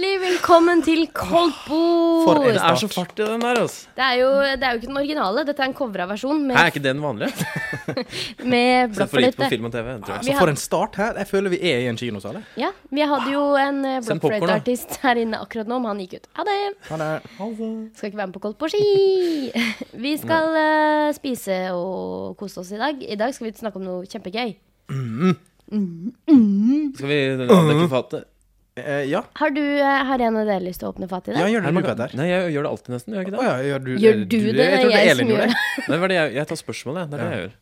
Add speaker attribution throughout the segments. Speaker 1: Velkommen til Koltbord!
Speaker 2: For en
Speaker 1: Det
Speaker 3: Det
Speaker 2: start.
Speaker 3: er så fart i den der, altså.
Speaker 1: er, jo, det er jo ikke den originale. Dette er en covra versjon
Speaker 3: Her
Speaker 1: med,
Speaker 3: er ikke det den vanlige?
Speaker 1: med
Speaker 3: Sett for lite på
Speaker 1: blokkfløyte.
Speaker 3: film og TV. Tror jeg.
Speaker 1: Vi
Speaker 2: Så
Speaker 1: har-
Speaker 2: Altså, for en start her. Jeg føler vi er i en kinosal. jeg.
Speaker 1: Ja, vi hadde jo en eh,
Speaker 3: Send popcorn, da.
Speaker 1: blokkfløyteartist her inne akkurat nå, men han gikk ut. Ha det!
Speaker 2: Han er
Speaker 1: Skal ikke være med på Koltbord ski! Vi skal
Speaker 2: Mm.
Speaker 1: eh, spise og kose oss i dag. I dag skal vi snakke om noe kjempegøy.
Speaker 3: Skal vi avdekke fatet?
Speaker 2: eh, Ja,
Speaker 1: Har du, eh, har en av dere lyst til å åpne fatet i
Speaker 2: ja
Speaker 1: dag?
Speaker 2: gjør det du,
Speaker 3: Nei,
Speaker 2: Petter.
Speaker 3: Nei, jeg gjør det alltid nesten, gjør jeg
Speaker 2: Å
Speaker 3: ikke det?
Speaker 2: ja, gjør du,
Speaker 1: Gjør du det?
Speaker 2: Jeg tror det er Elin
Speaker 1: som gjør
Speaker 2: gjorde.
Speaker 1: det.
Speaker 3: Nei, hva er det jeg, jeg tar spørsmål, jeg. Det er det jeg gjør.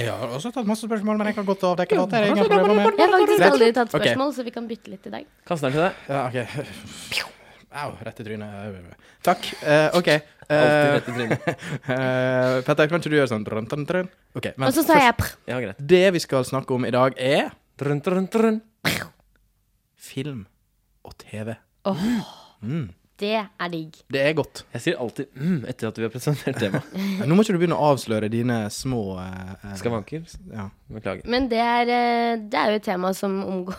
Speaker 2: Jeg har også tatt masse spørsmål, men jeg kan godt avdekke det. Det er ingen problemer med.
Speaker 1: Jeg har faktisk
Speaker 2: Rett.
Speaker 1: aldri tatt
Speaker 2: Ok.
Speaker 1: spørsmål, så vi kan bytte litt i dag.
Speaker 3: Kast den til deg.
Speaker 2: Ja, ok. Au, rett i trynet. Takk. Eh, OK.
Speaker 3: Alltid
Speaker 2: Eh,
Speaker 3: rett i trynet.
Speaker 2: eh, Petter, kan ikke du gjøre sånn drøn, drøn, drøn? Ok, men
Speaker 1: Og så sa jeg prr.
Speaker 3: Ja, greit.
Speaker 2: først- Det vi skal snakke om i dag, er
Speaker 3: Trun, trun, trun.
Speaker 2: film og TV.
Speaker 1: Det er digg.
Speaker 2: Det er godt.
Speaker 3: Jeg sier alltid mm etter at vi har presentert temaet.
Speaker 2: Nå må ikke du begynne å avsløre dine små eh, eh,
Speaker 3: Skavanker.
Speaker 2: ja.
Speaker 3: liksom. Beklager.
Speaker 1: Men det er, eh, det er jo et tema som omgår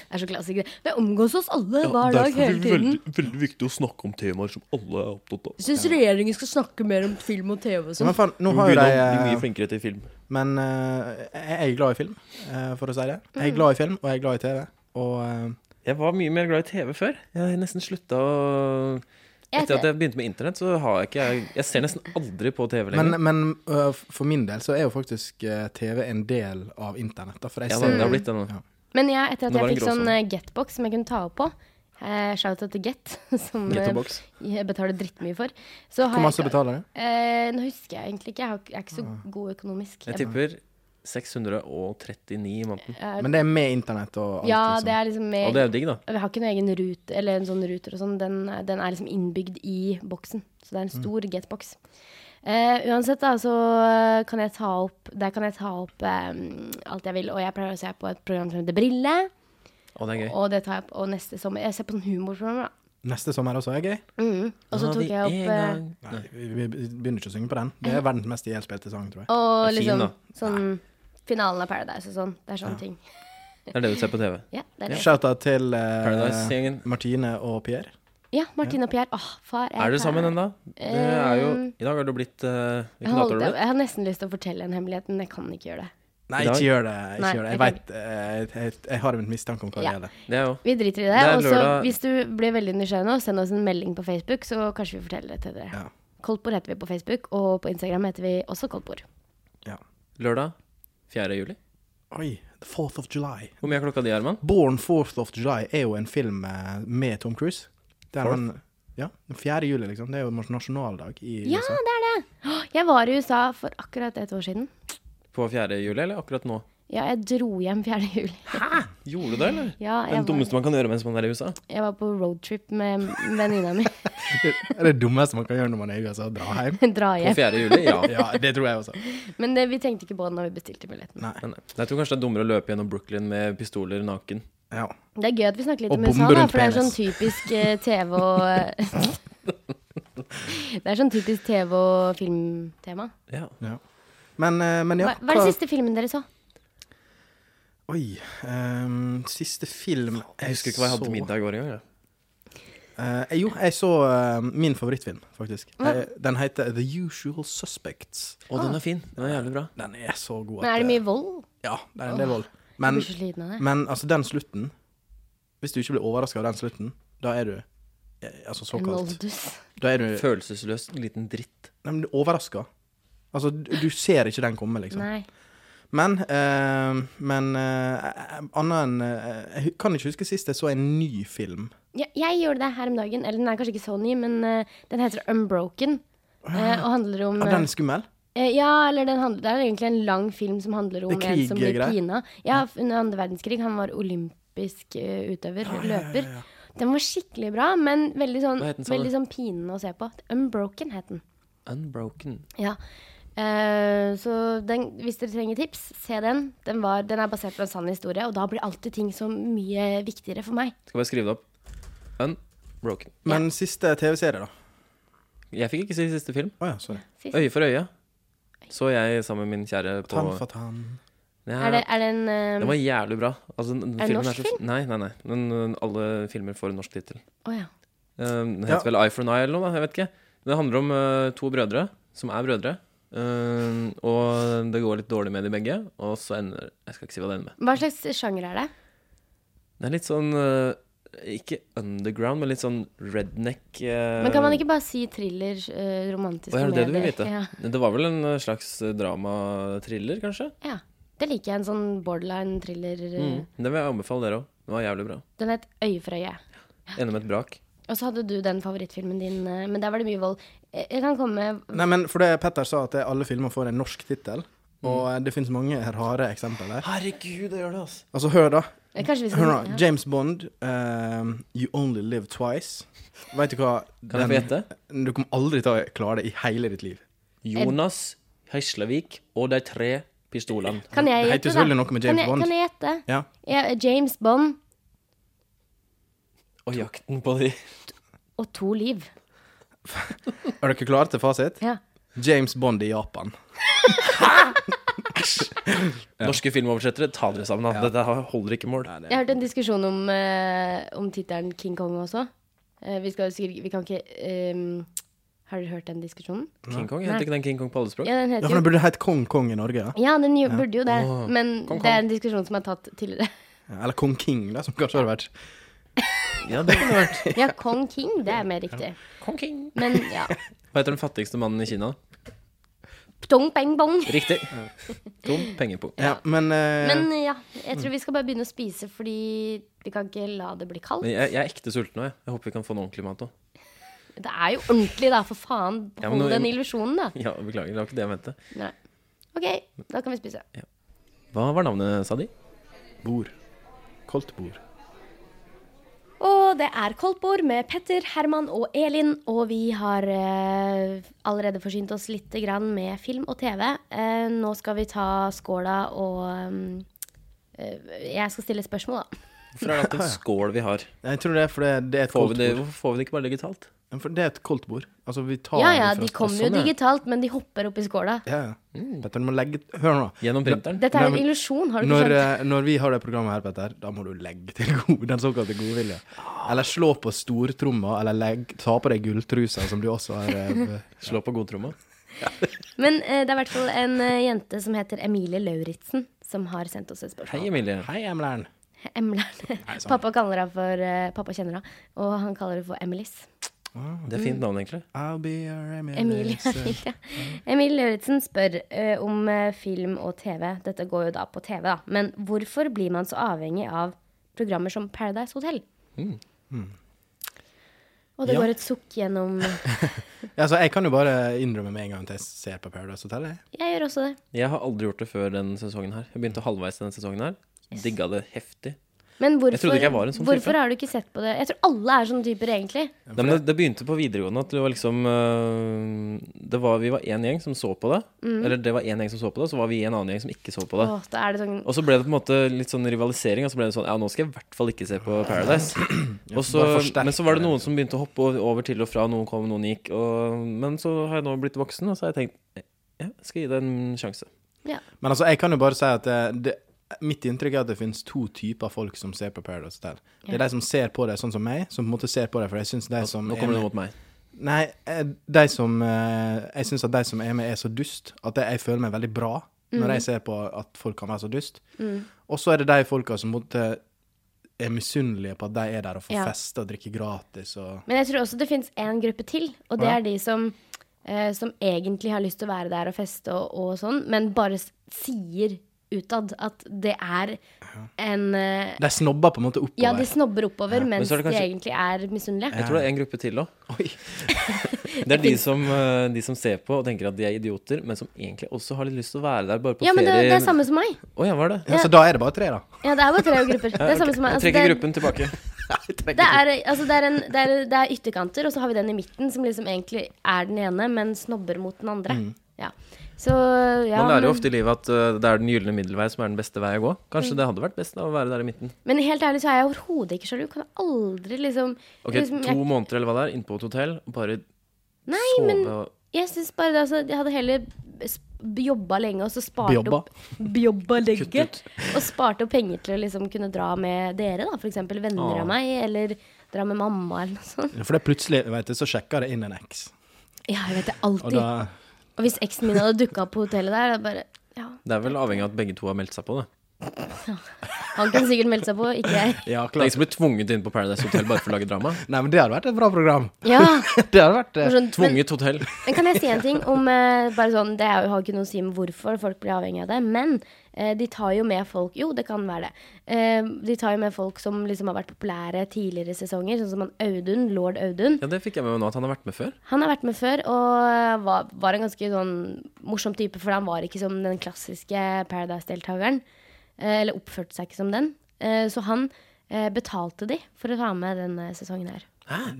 Speaker 1: Det er så klassiker. Det omgås oss alle hver dag hele tiden.
Speaker 3: veldig viktig å snakke om temaer som alle er opptatt av.
Speaker 1: Syns regjeringen skal snakke mer om film og TV og
Speaker 2: Men
Speaker 1: sånn.
Speaker 2: faen, nå
Speaker 3: Vi
Speaker 2: har jo de
Speaker 3: begynner å bli
Speaker 2: eh,
Speaker 3: mye flinkere til film.
Speaker 2: Men eh, jeg er glad i film, eh, for å si det. Jeg er glad i film, og jeg er glad i TV. Og eh,
Speaker 3: Jeg var mye mer glad i TV før. Jeg har nesten slutta å
Speaker 1: Jeg
Speaker 3: Etter at
Speaker 1: ser-
Speaker 3: jeg begynte med internett, så har jeg ikke Jeg, jeg ser nesten aldri på TV lenger.
Speaker 2: Men, men øh, for min del så er jo faktisk øh, TV en del av internett. da, For jeg
Speaker 3: Ja,
Speaker 2: ser
Speaker 3: det har blitt det nå.
Speaker 2: Ja.
Speaker 1: Men jeg, etter at
Speaker 3: Nå var
Speaker 1: jeg
Speaker 3: det
Speaker 1: fikk
Speaker 3: en
Speaker 1: sånn
Speaker 3: gråsone.
Speaker 1: eh, getbox som jeg kunne ta opp på eh, Shout out til Get, som eh,
Speaker 3: Gettobox.
Speaker 1: jeg betaler drittmye for. Så har
Speaker 2: Hvor masse
Speaker 1: jeg
Speaker 2: betaler du?
Speaker 1: Eh, Nå husker jeg egentlig ikke. Jeg, har, ikke- jeg er ikke så god økonomisk.
Speaker 3: Jeg
Speaker 1: Jeg-
Speaker 3: tipper 639 i måneden.
Speaker 1: jeg-
Speaker 2: Men det er med internett og alt.
Speaker 1: ja,
Speaker 2: liksom.
Speaker 1: det er liksom
Speaker 3: Og det
Speaker 1: med
Speaker 3: er jo digg, da.
Speaker 1: Vi har ikke noen egen rute, eller en sånn ruter og sånn. Den, er- den er liksom innbygd i boksen. Så det er en
Speaker 3: Mm.
Speaker 1: stor getbox. Eh, uansett, da, så eh, kan jeg ta opp Der kan jeg ta opp eh, alt jeg vil. Og jeg pleier å se på et program som heter Brille.
Speaker 3: Å, det er gøy.
Speaker 1: Og det tar jeg opp. Og neste sommer Jeg ser på sånn humorprogram, da.
Speaker 2: Neste sommer også er gøy.
Speaker 1: Mm. Og så
Speaker 3: Nå har
Speaker 1: tok
Speaker 3: vi
Speaker 1: jeg opp
Speaker 3: en
Speaker 1: eh,
Speaker 3: gang.
Speaker 2: Nei, vi vi begynner ikke å synge på den. Det er verdens mest ihjelspilte sang, tror jeg.
Speaker 1: Og
Speaker 3: Det er
Speaker 1: liksom
Speaker 3: fin, da.
Speaker 1: sånn Finalen av Paradise og sånn. Det er sånne ting. eh,
Speaker 3: Det er det du ser på TV.
Speaker 1: Ja, det er det.
Speaker 2: Shouta til øh,
Speaker 3: Paradise-gjengen.
Speaker 2: Martine og Pierre.
Speaker 1: Ja, Martine og Pierre. Åh, far jeg
Speaker 3: Er dere sammen ennå? Det er jo
Speaker 1: Eh,
Speaker 3: I dag har du blitt eh,
Speaker 1: Jeg,
Speaker 3: Hvilken dato
Speaker 1: holdt,
Speaker 3: har du
Speaker 1: jeg,
Speaker 3: blitt?
Speaker 1: har nesten lyst til å fortelle en hemmelighet, men jeg kan ikke gjøre det.
Speaker 2: Nei,
Speaker 3: I dag?
Speaker 2: ikke gjør det. Ikke
Speaker 1: Nei,
Speaker 2: gjør det.
Speaker 1: jeg
Speaker 2: Jeg, vet, øh, jeg, jeg, jeg har en mistanke om hva det
Speaker 1: Ja.
Speaker 2: gjelder.
Speaker 3: Det er jo
Speaker 1: Vi driter i det.
Speaker 3: Det er
Speaker 1: og så
Speaker 3: lørdag.
Speaker 1: hvis du blir veldig nysgjerrig nå, send oss en melding på Facebook, så kanskje vi forteller det til dere.
Speaker 2: Ja.
Speaker 1: Koldtbord heter vi på Facebook, og på Instagram heter vi også Koldtbord.
Speaker 2: Ja.
Speaker 3: lørdag 4. juli.
Speaker 2: Oi, The 4th of July.
Speaker 3: Hvor mye er klokka di, Herman?
Speaker 2: Born 4th of July er jo en film eh, med Tom Cruise. Der
Speaker 3: Fourth?
Speaker 2: han, ja, den 4. juli, liksom. Det er jo nasjonaldag i
Speaker 1: Ja,
Speaker 2: USA.
Speaker 1: det er det! Åh, Jeg var i USA for akkurat et år siden.
Speaker 3: På 4. juli, eller akkurat nå?
Speaker 1: Ja, jeg dro hjem 4. juli.
Speaker 3: Gjorde du det, eller?
Speaker 1: Ja, jeg
Speaker 3: Den
Speaker 1: var,
Speaker 3: dummeste man kan gjøre mens man er i USA.
Speaker 1: jeg var på roadtrip med venninna mi.
Speaker 2: Det er det dummeste man kan gjøre når man er i USA, dra hjem.
Speaker 1: Dra
Speaker 3: På
Speaker 1: hjem.
Speaker 3: 4. juli, ja.
Speaker 2: Ja, det tror jeg også.
Speaker 1: Men det, vi tenkte ikke på det når vi bestilte billetten.
Speaker 2: Nei.
Speaker 3: Men eh. jeg tror kanskje det er dummere å løpe gjennom Brooklyn med pistoler naken.
Speaker 2: Ja.
Speaker 1: Det er gøy at vi snakker litt
Speaker 2: Og
Speaker 1: om USA,
Speaker 2: bombe
Speaker 1: da,
Speaker 2: rundt
Speaker 1: for det er sånn
Speaker 2: penis.
Speaker 1: typisk eh, TV og Det er sånn typisk TV og filmtema.
Speaker 3: Ja.
Speaker 2: ja. Men, eh, men ja
Speaker 1: Hva, hva er den siste filmen dere så?
Speaker 2: Oi. ehm, siste film
Speaker 3: Jeg husker ikke hva jeg hadde til middag i går engang. jeg.
Speaker 2: Eh, jo, jeg så eh, min favorittfilm, faktisk. Eh, den heter The Usual Suspects.
Speaker 3: Å, den er fin. Den er jævlig bra.
Speaker 2: Den er så god.
Speaker 1: Men
Speaker 2: at,
Speaker 1: er det
Speaker 2: eh,
Speaker 1: mye vold?
Speaker 2: Ja, det er en del vold.
Speaker 1: Jeg
Speaker 2: Men
Speaker 1: blir så sliten av det.
Speaker 2: Men altså, den slutten Hvis du ikke blir overraska av den slutten, da er du eh, Altså
Speaker 1: En
Speaker 2: såkalt
Speaker 1: Oldus.
Speaker 2: Da er du
Speaker 3: Følelsesløs liten dritt.
Speaker 2: Nei, men du er overraska. Altså, du, du ser ikke den komme, liksom.
Speaker 1: Nei.
Speaker 2: Men eh, Men eh, eh, annet enn eh, Jeg kan ikke huske sist jeg så en ny film.
Speaker 1: Ja, jeg gjorde det her om dagen. Eller den er kanskje ikke så ny, men eh, den heter Unbroken. eh, og handler om
Speaker 2: Ja,
Speaker 1: eh,
Speaker 2: den er skummel.
Speaker 1: eh, Ja, eller den handler, det er egentlig en lang film som handler om
Speaker 2: Det er
Speaker 1: en som blir
Speaker 2: kriggreier.
Speaker 1: pina. Ja, under andre verdenskrig. Han var olympisk eh, utøver, løper. Den var skikkelig bra, men veldig sånn,
Speaker 3: Hva het den, sa du?
Speaker 1: veldig sånn pinende å se på. Unbroken het den.
Speaker 3: Unbroken.
Speaker 1: Ja. Eh, så den, hvis dere trenger tips, se den. Den, var, den er basert på en sann historie, og da blir alltid ting så mye viktigere for meg.
Speaker 3: Skal bare skrive det opp. Unbroken.
Speaker 2: Men siste TV-serie, da?
Speaker 3: Jeg fikk ikke si siste film.
Speaker 2: Å ja, sorry.
Speaker 3: Øye for øye så jeg sammen med min kjære på
Speaker 2: Tan Fatan.
Speaker 3: Ja,
Speaker 1: Er det, er det en eh,
Speaker 3: Den var jævlig bra. Altså, den- den
Speaker 1: Er det
Speaker 3: filmen
Speaker 1: norsk
Speaker 3: så- Nei, nei, nei. Men uh, alle filmer eh, får en norsk tittel.
Speaker 1: å ja.
Speaker 3: Eh, Den
Speaker 2: Ja.
Speaker 3: heter vel Eye for an Eye eller noe, da. Jeg vet ikke. Det handler om eh, to brødre som er brødre. eh, og det går litt dårlig med de begge, og så ender Jeg skal ikke si hva det ender med.
Speaker 1: Hva slags sjanger er det?
Speaker 3: Det er litt sånn eh, Ikke underground, men litt sånn redneck. eh,
Speaker 1: Men kan man ikke bare si thriller, eh, romantisk
Speaker 3: Å, er det det du vil
Speaker 1: komedie?
Speaker 3: vite?
Speaker 1: Ja.
Speaker 3: Det var vel en eh, slags drama-thriller, kanskje?
Speaker 1: ja. Det liker jeg. En sånn borderline thriller. eh,
Speaker 3: Mm. Den vil jeg anbefale dere òg. Den var jævlig bra.
Speaker 1: Den het Øye for øye.
Speaker 3: Ender med et brak.
Speaker 1: Og så hadde du den favorittfilmen din, eh, men der var det mye vold. Eh, Jeg kan komme med
Speaker 2: Nei, men for det Petter sa, at det, alle filmer får en norsk tittel. Og eh, det finnes mange rare eksempler der.
Speaker 3: Herregud, det gjør det, altså.
Speaker 2: Altså, hør, da.
Speaker 1: eh, Kanskje vi
Speaker 2: Hør
Speaker 1: skal
Speaker 2: nå. James Bond, ehm, You Only Live Twice. Veit du hva?
Speaker 3: Kan jeg få gjette?
Speaker 2: Du kommer aldri til å klare det i hele ditt liv.
Speaker 3: Jonas Heislevik og de tre pistolene.
Speaker 1: Kan jeg
Speaker 2: Det heter
Speaker 1: gjette, da?
Speaker 2: selvfølgelig noe med James
Speaker 1: kan, jeg,
Speaker 2: Bond.
Speaker 1: kan jeg gjette?
Speaker 2: Ja.
Speaker 1: Ja, James Bond
Speaker 3: Og jakten på de.
Speaker 1: og to liv.
Speaker 2: Er dere klare til fasit?
Speaker 1: Ja.
Speaker 2: James Bond i Japan.
Speaker 3: Norske filmoversettere, ta dere sammen. Da. Dette her holder ikke mål.
Speaker 1: Jeg har hørt en diskusjon om, uh, om tittelen King Kong også. Eh, vi, skal, jo sikkert- vi kan ikke eh, Har dere hørt den diskusjonen?
Speaker 3: King Kong, Heter ikke den King Kong på alle språk?
Speaker 1: Ja, den
Speaker 2: Ja,
Speaker 1: heter
Speaker 2: for
Speaker 1: jo
Speaker 2: det burde hett Kong Kong i Norge. da.
Speaker 1: Ja, den jo, burde jo det. Men
Speaker 3: Kong,
Speaker 1: det er
Speaker 3: kong.
Speaker 1: en diskusjon som er tatt tidligere.
Speaker 2: Ja, Eller Kong King, da, som kanskje hadde vært
Speaker 3: Ja, det kunne vært
Speaker 1: Ja, Kong King, det er mer riktig.
Speaker 3: Kong King.
Speaker 1: Men ja.
Speaker 3: Hva heter den fattigste mannen i Kina?
Speaker 1: Ptong bang bong.
Speaker 3: Riktig. Tom pengepung.
Speaker 2: Ja, men, eh,
Speaker 1: Men ja, jeg tror vi skal bare begynne å spise, fordi vi kan ikke la det bli kaldt.
Speaker 3: Men jeg, jeg er ekte sulten nå, jeg. Jeg håper vi kan få noe ordentlig mat òg.
Speaker 1: Det er jo ordentlig, da, for faen.
Speaker 3: Ja, men
Speaker 1: Hold
Speaker 3: nå-
Speaker 1: den illusjonen, da.
Speaker 3: Ja, beklager, det var ikke det jeg mente.
Speaker 1: Nei. OK, da kan vi spise.
Speaker 3: Hva var navnet, sa de?
Speaker 2: bord. Koldt bord.
Speaker 1: Og det er Koldtbord med Petter, Herman og Elin. Og vi har eh, allerede forsynt oss litt grann med film og TV. Eh, nå skal vi ta skåla og mm, eh, Jeg skal stille et spørsmål, da.
Speaker 3: Hvorfor er det alltid en skål vi har?
Speaker 2: Jeg tror det er fordi det er et
Speaker 3: Får vi
Speaker 2: koldt
Speaker 3: det,
Speaker 2: bord.
Speaker 3: hvorfor får vi det ikke bare digitalt?
Speaker 2: For det er et koldt bord. Altså, vi tar
Speaker 1: Ja ja,
Speaker 2: det fra
Speaker 1: de
Speaker 2: oss.
Speaker 1: kommer jo
Speaker 3: sånn, ja.
Speaker 1: digitalt, men de hopper opp i skåla.
Speaker 2: Ja, ja. Petter, du må legge Hør nå.
Speaker 3: Mm. Gjennom printeren?
Speaker 1: Dette er
Speaker 2: Nei,
Speaker 1: en
Speaker 2: men-
Speaker 1: illusjon, har du ikke
Speaker 2: Når,
Speaker 1: skjønt?
Speaker 2: eh, når vi har det programmet her, Petter, da må du legge til god, den såkalte godvilje. Eller slå på stortromma, eller legg, ta på deg gulltrusa, som du også har eh,
Speaker 3: Slå på godtromma?
Speaker 1: Men eh, det er i hvert fall en eh, jente som heter Emilie Lauritzen, som har sendt oss et
Speaker 3: Hei,
Speaker 1: spørsmål.
Speaker 3: Emilie.
Speaker 2: Hei, sånn. Emlern.
Speaker 1: Emlern. Pappa kaller henne for eh, Pappa kjenner henne, og han kaller henne for Emilys.
Speaker 3: Det er fint navn, egentlig.
Speaker 2: I'll be your
Speaker 1: Emilie,
Speaker 2: Emilie.
Speaker 1: ja. Emilie Lauritzen spør eh, om eh, film og TV. Dette går jo da på TV, da. Men hvorfor blir man så avhengig av programmer som Paradise Hotel?
Speaker 3: Hmm.
Speaker 1: Og det
Speaker 2: Ja.
Speaker 1: går et sukk gjennom
Speaker 2: Ja, så jeg kan jo bare innrømme med en gang at jeg ser på Paradise Hotel. jeg.
Speaker 1: Jeg gjør også det.
Speaker 3: Jeg har aldri gjort det før denne sesongen her. Jeg begynte halvveis denne sesongen her. Digga det heftig.
Speaker 1: Men hvorfor,
Speaker 3: trodde ikke jeg var en sånn type.
Speaker 1: hvorfor har du ikke sett på det? Jeg tror alle er sånne typer, egentlig.
Speaker 3: Nei, men det, det begynte på videregående at det var liksom øh, det var, Vi var én gjeng som så på det. Eller det var én gjeng som så på det, og så var vi en annen gjeng som ikke så på det.
Speaker 1: Åh, da er det sånn
Speaker 3: Og så ble det på en måte litt sånn rivalisering, og så ble det sånn Ja, nå skal jeg i hvert fall ikke se på Paradise. Og så,
Speaker 2: bare forsterker
Speaker 3: men så var det
Speaker 2: det.
Speaker 3: noen som begynte å hoppe o- over til og fra, noen kom, noen gikk. Og, men så har jeg nå blitt voksen, og så har jeg tenkt ja, jeg skal gi det en sjanse.
Speaker 1: ja.
Speaker 2: Men altså, jeg kan jo bare si at eh, det, mitt inntrykk er at det finnes to typer folk som ser på Paradise Hotel. Det er de som ser på det sånn som meg, som på en måte ser på det, for jeg syns de som
Speaker 3: Nå
Speaker 2: er
Speaker 3: kommer det
Speaker 2: med-
Speaker 3: noe mot meg.
Speaker 2: Nei, eh, de som eh, Jeg syns at de som er med, er så dust at jeg føler meg veldig bra når
Speaker 1: Mhm.
Speaker 2: jeg ser på at folk kan være så dust.
Speaker 1: Mm.
Speaker 2: Og så er det de folka som på en måte er misunnelige på at de er der og får
Speaker 1: Ja.
Speaker 2: feste og drikke gratis og
Speaker 1: Men jeg tror også det finnes én gruppe til, og det
Speaker 2: Ja.
Speaker 1: er de som, eh, som egentlig har lyst til å være der og feste og, og sånn, men bare s- sier utad at det er en eh,
Speaker 2: De snobber på en måte oppover.
Speaker 1: Ja, de snobber oppover,
Speaker 3: Men
Speaker 1: mens
Speaker 3: så er det
Speaker 1: de
Speaker 3: kanskje-
Speaker 1: egentlig er misunnelige.
Speaker 3: Jeg tror det er en gruppe til òg. Det er de som, eh, de som ser på og tenker at de er idioter, men som egentlig også har litt lyst til å være der, bare på
Speaker 1: Ja, men det,
Speaker 3: ferie.
Speaker 1: det er samme som meg.
Speaker 3: Å ja, var det?
Speaker 2: ja, så da er det bare tre, da.
Speaker 1: Ja, det er bare tre grupper. Det er samme som meg.
Speaker 3: Jeg
Speaker 1: Altså,
Speaker 3: trekker
Speaker 1: det, er-
Speaker 3: gruppen tilbake.
Speaker 1: det, er, altså, det, er en, det, er, det er ytterkanter, og så har vi den i midten, som liksom egentlig er den ene, men snobber mot den andre. Ja. Så ja,
Speaker 3: Mm. Man lærer jo
Speaker 1: men-
Speaker 3: ofte i livet at øh, det er den gylne middelvei som er den beste vei å gå.
Speaker 1: Mm.
Speaker 3: Kanskje det hadde vært best da, å være der i midten.
Speaker 1: Men helt ærlig så er jeg overhodet ikke sjalu. Kan aldri liksom
Speaker 3: Ok,
Speaker 1: liksom,
Speaker 3: To måneder eller hva det er, innpå et hotell, og bare
Speaker 1: Nei,
Speaker 3: sove
Speaker 1: men
Speaker 3: og
Speaker 1: jeg synes bare det altså, Jeg hadde heller s- jobba lenge og så spart
Speaker 2: Bjobba.
Speaker 1: opp Bjobba lenge.
Speaker 3: Kutt
Speaker 1: og spart opp penger til å liksom kunne dra med dere, da, f.eks. venner
Speaker 3: Ah.
Speaker 1: av meg, eller dra med mamma eller noe sånt.
Speaker 2: For det er plutselig, vet du, så sjekker det inn en eks.
Speaker 1: Ja, jeg vet det
Speaker 2: Og
Speaker 1: alltid.
Speaker 2: da
Speaker 1: Og hvis eksen min hadde dukka opp på hotellet der, da bare Ja,
Speaker 3: Det er vel avhengig av at begge to har meldt seg på, da.
Speaker 1: han kunne sikkert meldt seg på, ikke jeg.
Speaker 2: Ja,
Speaker 3: Det er ingen
Speaker 2: klart.
Speaker 3: som blir tvunget inn på Paradise Hotel bare for å lage drama.
Speaker 2: Nei, men det hadde vært et bra program.
Speaker 1: Ja,
Speaker 2: Det hadde vært eh,
Speaker 1: morsomt. Men,
Speaker 3: Tvunget hotell.
Speaker 1: men kan jeg si en ting om eh, bare sånn, Det er jo- har ikke noe å si om hvorfor folk blir avhengig av det, men eh, de tar jo med folk Jo, det kan være det. Eh, de tar jo med folk som liksom har vært populære tidligere sesonger, sånn som han Audun, lord Audun.
Speaker 3: Ja, det fikk jeg med meg nå, at han har vært med før.
Speaker 1: Han har vært med før og eh, var, var en ganske sånn morsom type, for han var ikke som den klassiske Paradise-deltakeren. eh, Eller oppførte seg ikke som den. Eh, Så han eh, betalte de for å ta med denne sesongen her.